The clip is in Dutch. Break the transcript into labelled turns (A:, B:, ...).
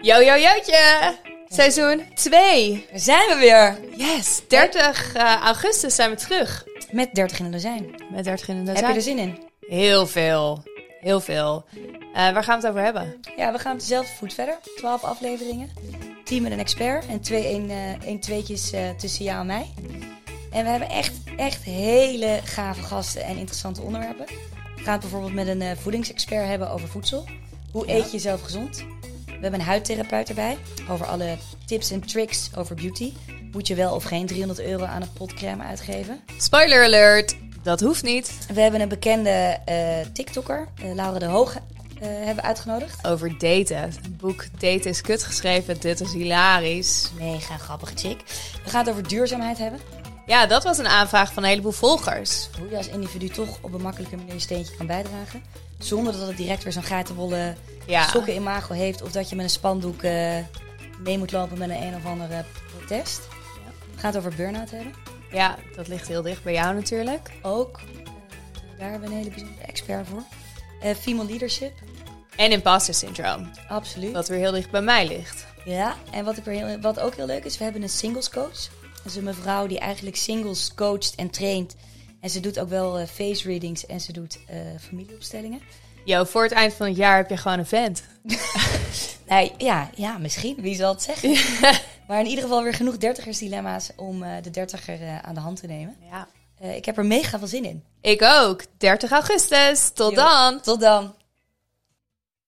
A: Yo, yo, jootje! Seizoen 2.
B: Daar zijn we weer
A: Yes, 30 eh, augustus zijn we terug.
B: met 30 in een dozijn.
A: Met 30 in de
B: Heb je
A: zaak.
B: er zin in?
A: Heel veel. Heel veel. Eh, waar gaan we het over hebben?
B: Ja, we gaan op dezelfde voet verder. 12 afleveringen. 10 met een expert en twee een, eh, een tweetjes eh, tussen jou en mij. En we hebben echt, echt hele gave gasten en interessante onderwerpen. We gaan het bijvoorbeeld met een eh, voedingsexpert hebben over voedsel. Hoe eet je jezelf gezond? We hebben een huidtherapeut erbij over alle tips en tricks over beauty. Moet je wel of geen 300 euro aan een potcrème uitgeven?
A: Spoiler alert, dat hoeft niet.
B: We hebben een bekende eh, TikToker, eh, Laura de Hoog, eh, hebben we uitgenodigd.
A: Over daten. Het boek Daten is kut geschreven. Dit is hilarisch.
B: Mega grappig chick. We gaan het over duurzaamheid hebben.
A: Ja, dat was een aanvraag van een heleboel volgers.
B: Hoe je als individu toch op een makkelijke manier een steentje kan bijdragen. Zonder dat het direct weer zo'n gatenwolle
A: Ja.
B: sokken in mago heeft. Of dat je met een spandoek eh, mee moet lopen met een een of andere protest. We gaan het over burn-out hebben.
A: Ja, dat ligt heel dicht bij jou natuurlijk.
B: Ook, eh, daar hebben we een hele bijzondere expert voor. Eh, female leadership,
A: En imposter syndroom,
B: absoluut.
A: wat weer heel dicht bij mij ligt.
B: Ja, en wat, ik er heel, wat ook heel leuk is, we hebben een singles coach. Dat is een mevrouw die eigenlijk singles coacht en traint. En ze doet ook wel eh, face readings en ze doet eh, familieopstellingen.
A: Jo, voor het eind van het jaar heb je gewoon een vent.
B: Nou, ja, ja, misschien. Wie zal het zeggen? Maar in ieder geval weer genoeg dertigersdilemma's om eh, de dertiger eh, aan de hand te nemen.
A: Ja.
B: Eh, ik heb er mega veel zin in.
A: Ik ook. 30 augustus. Tot
B: Jo.
A: dan.
B: Tot dan!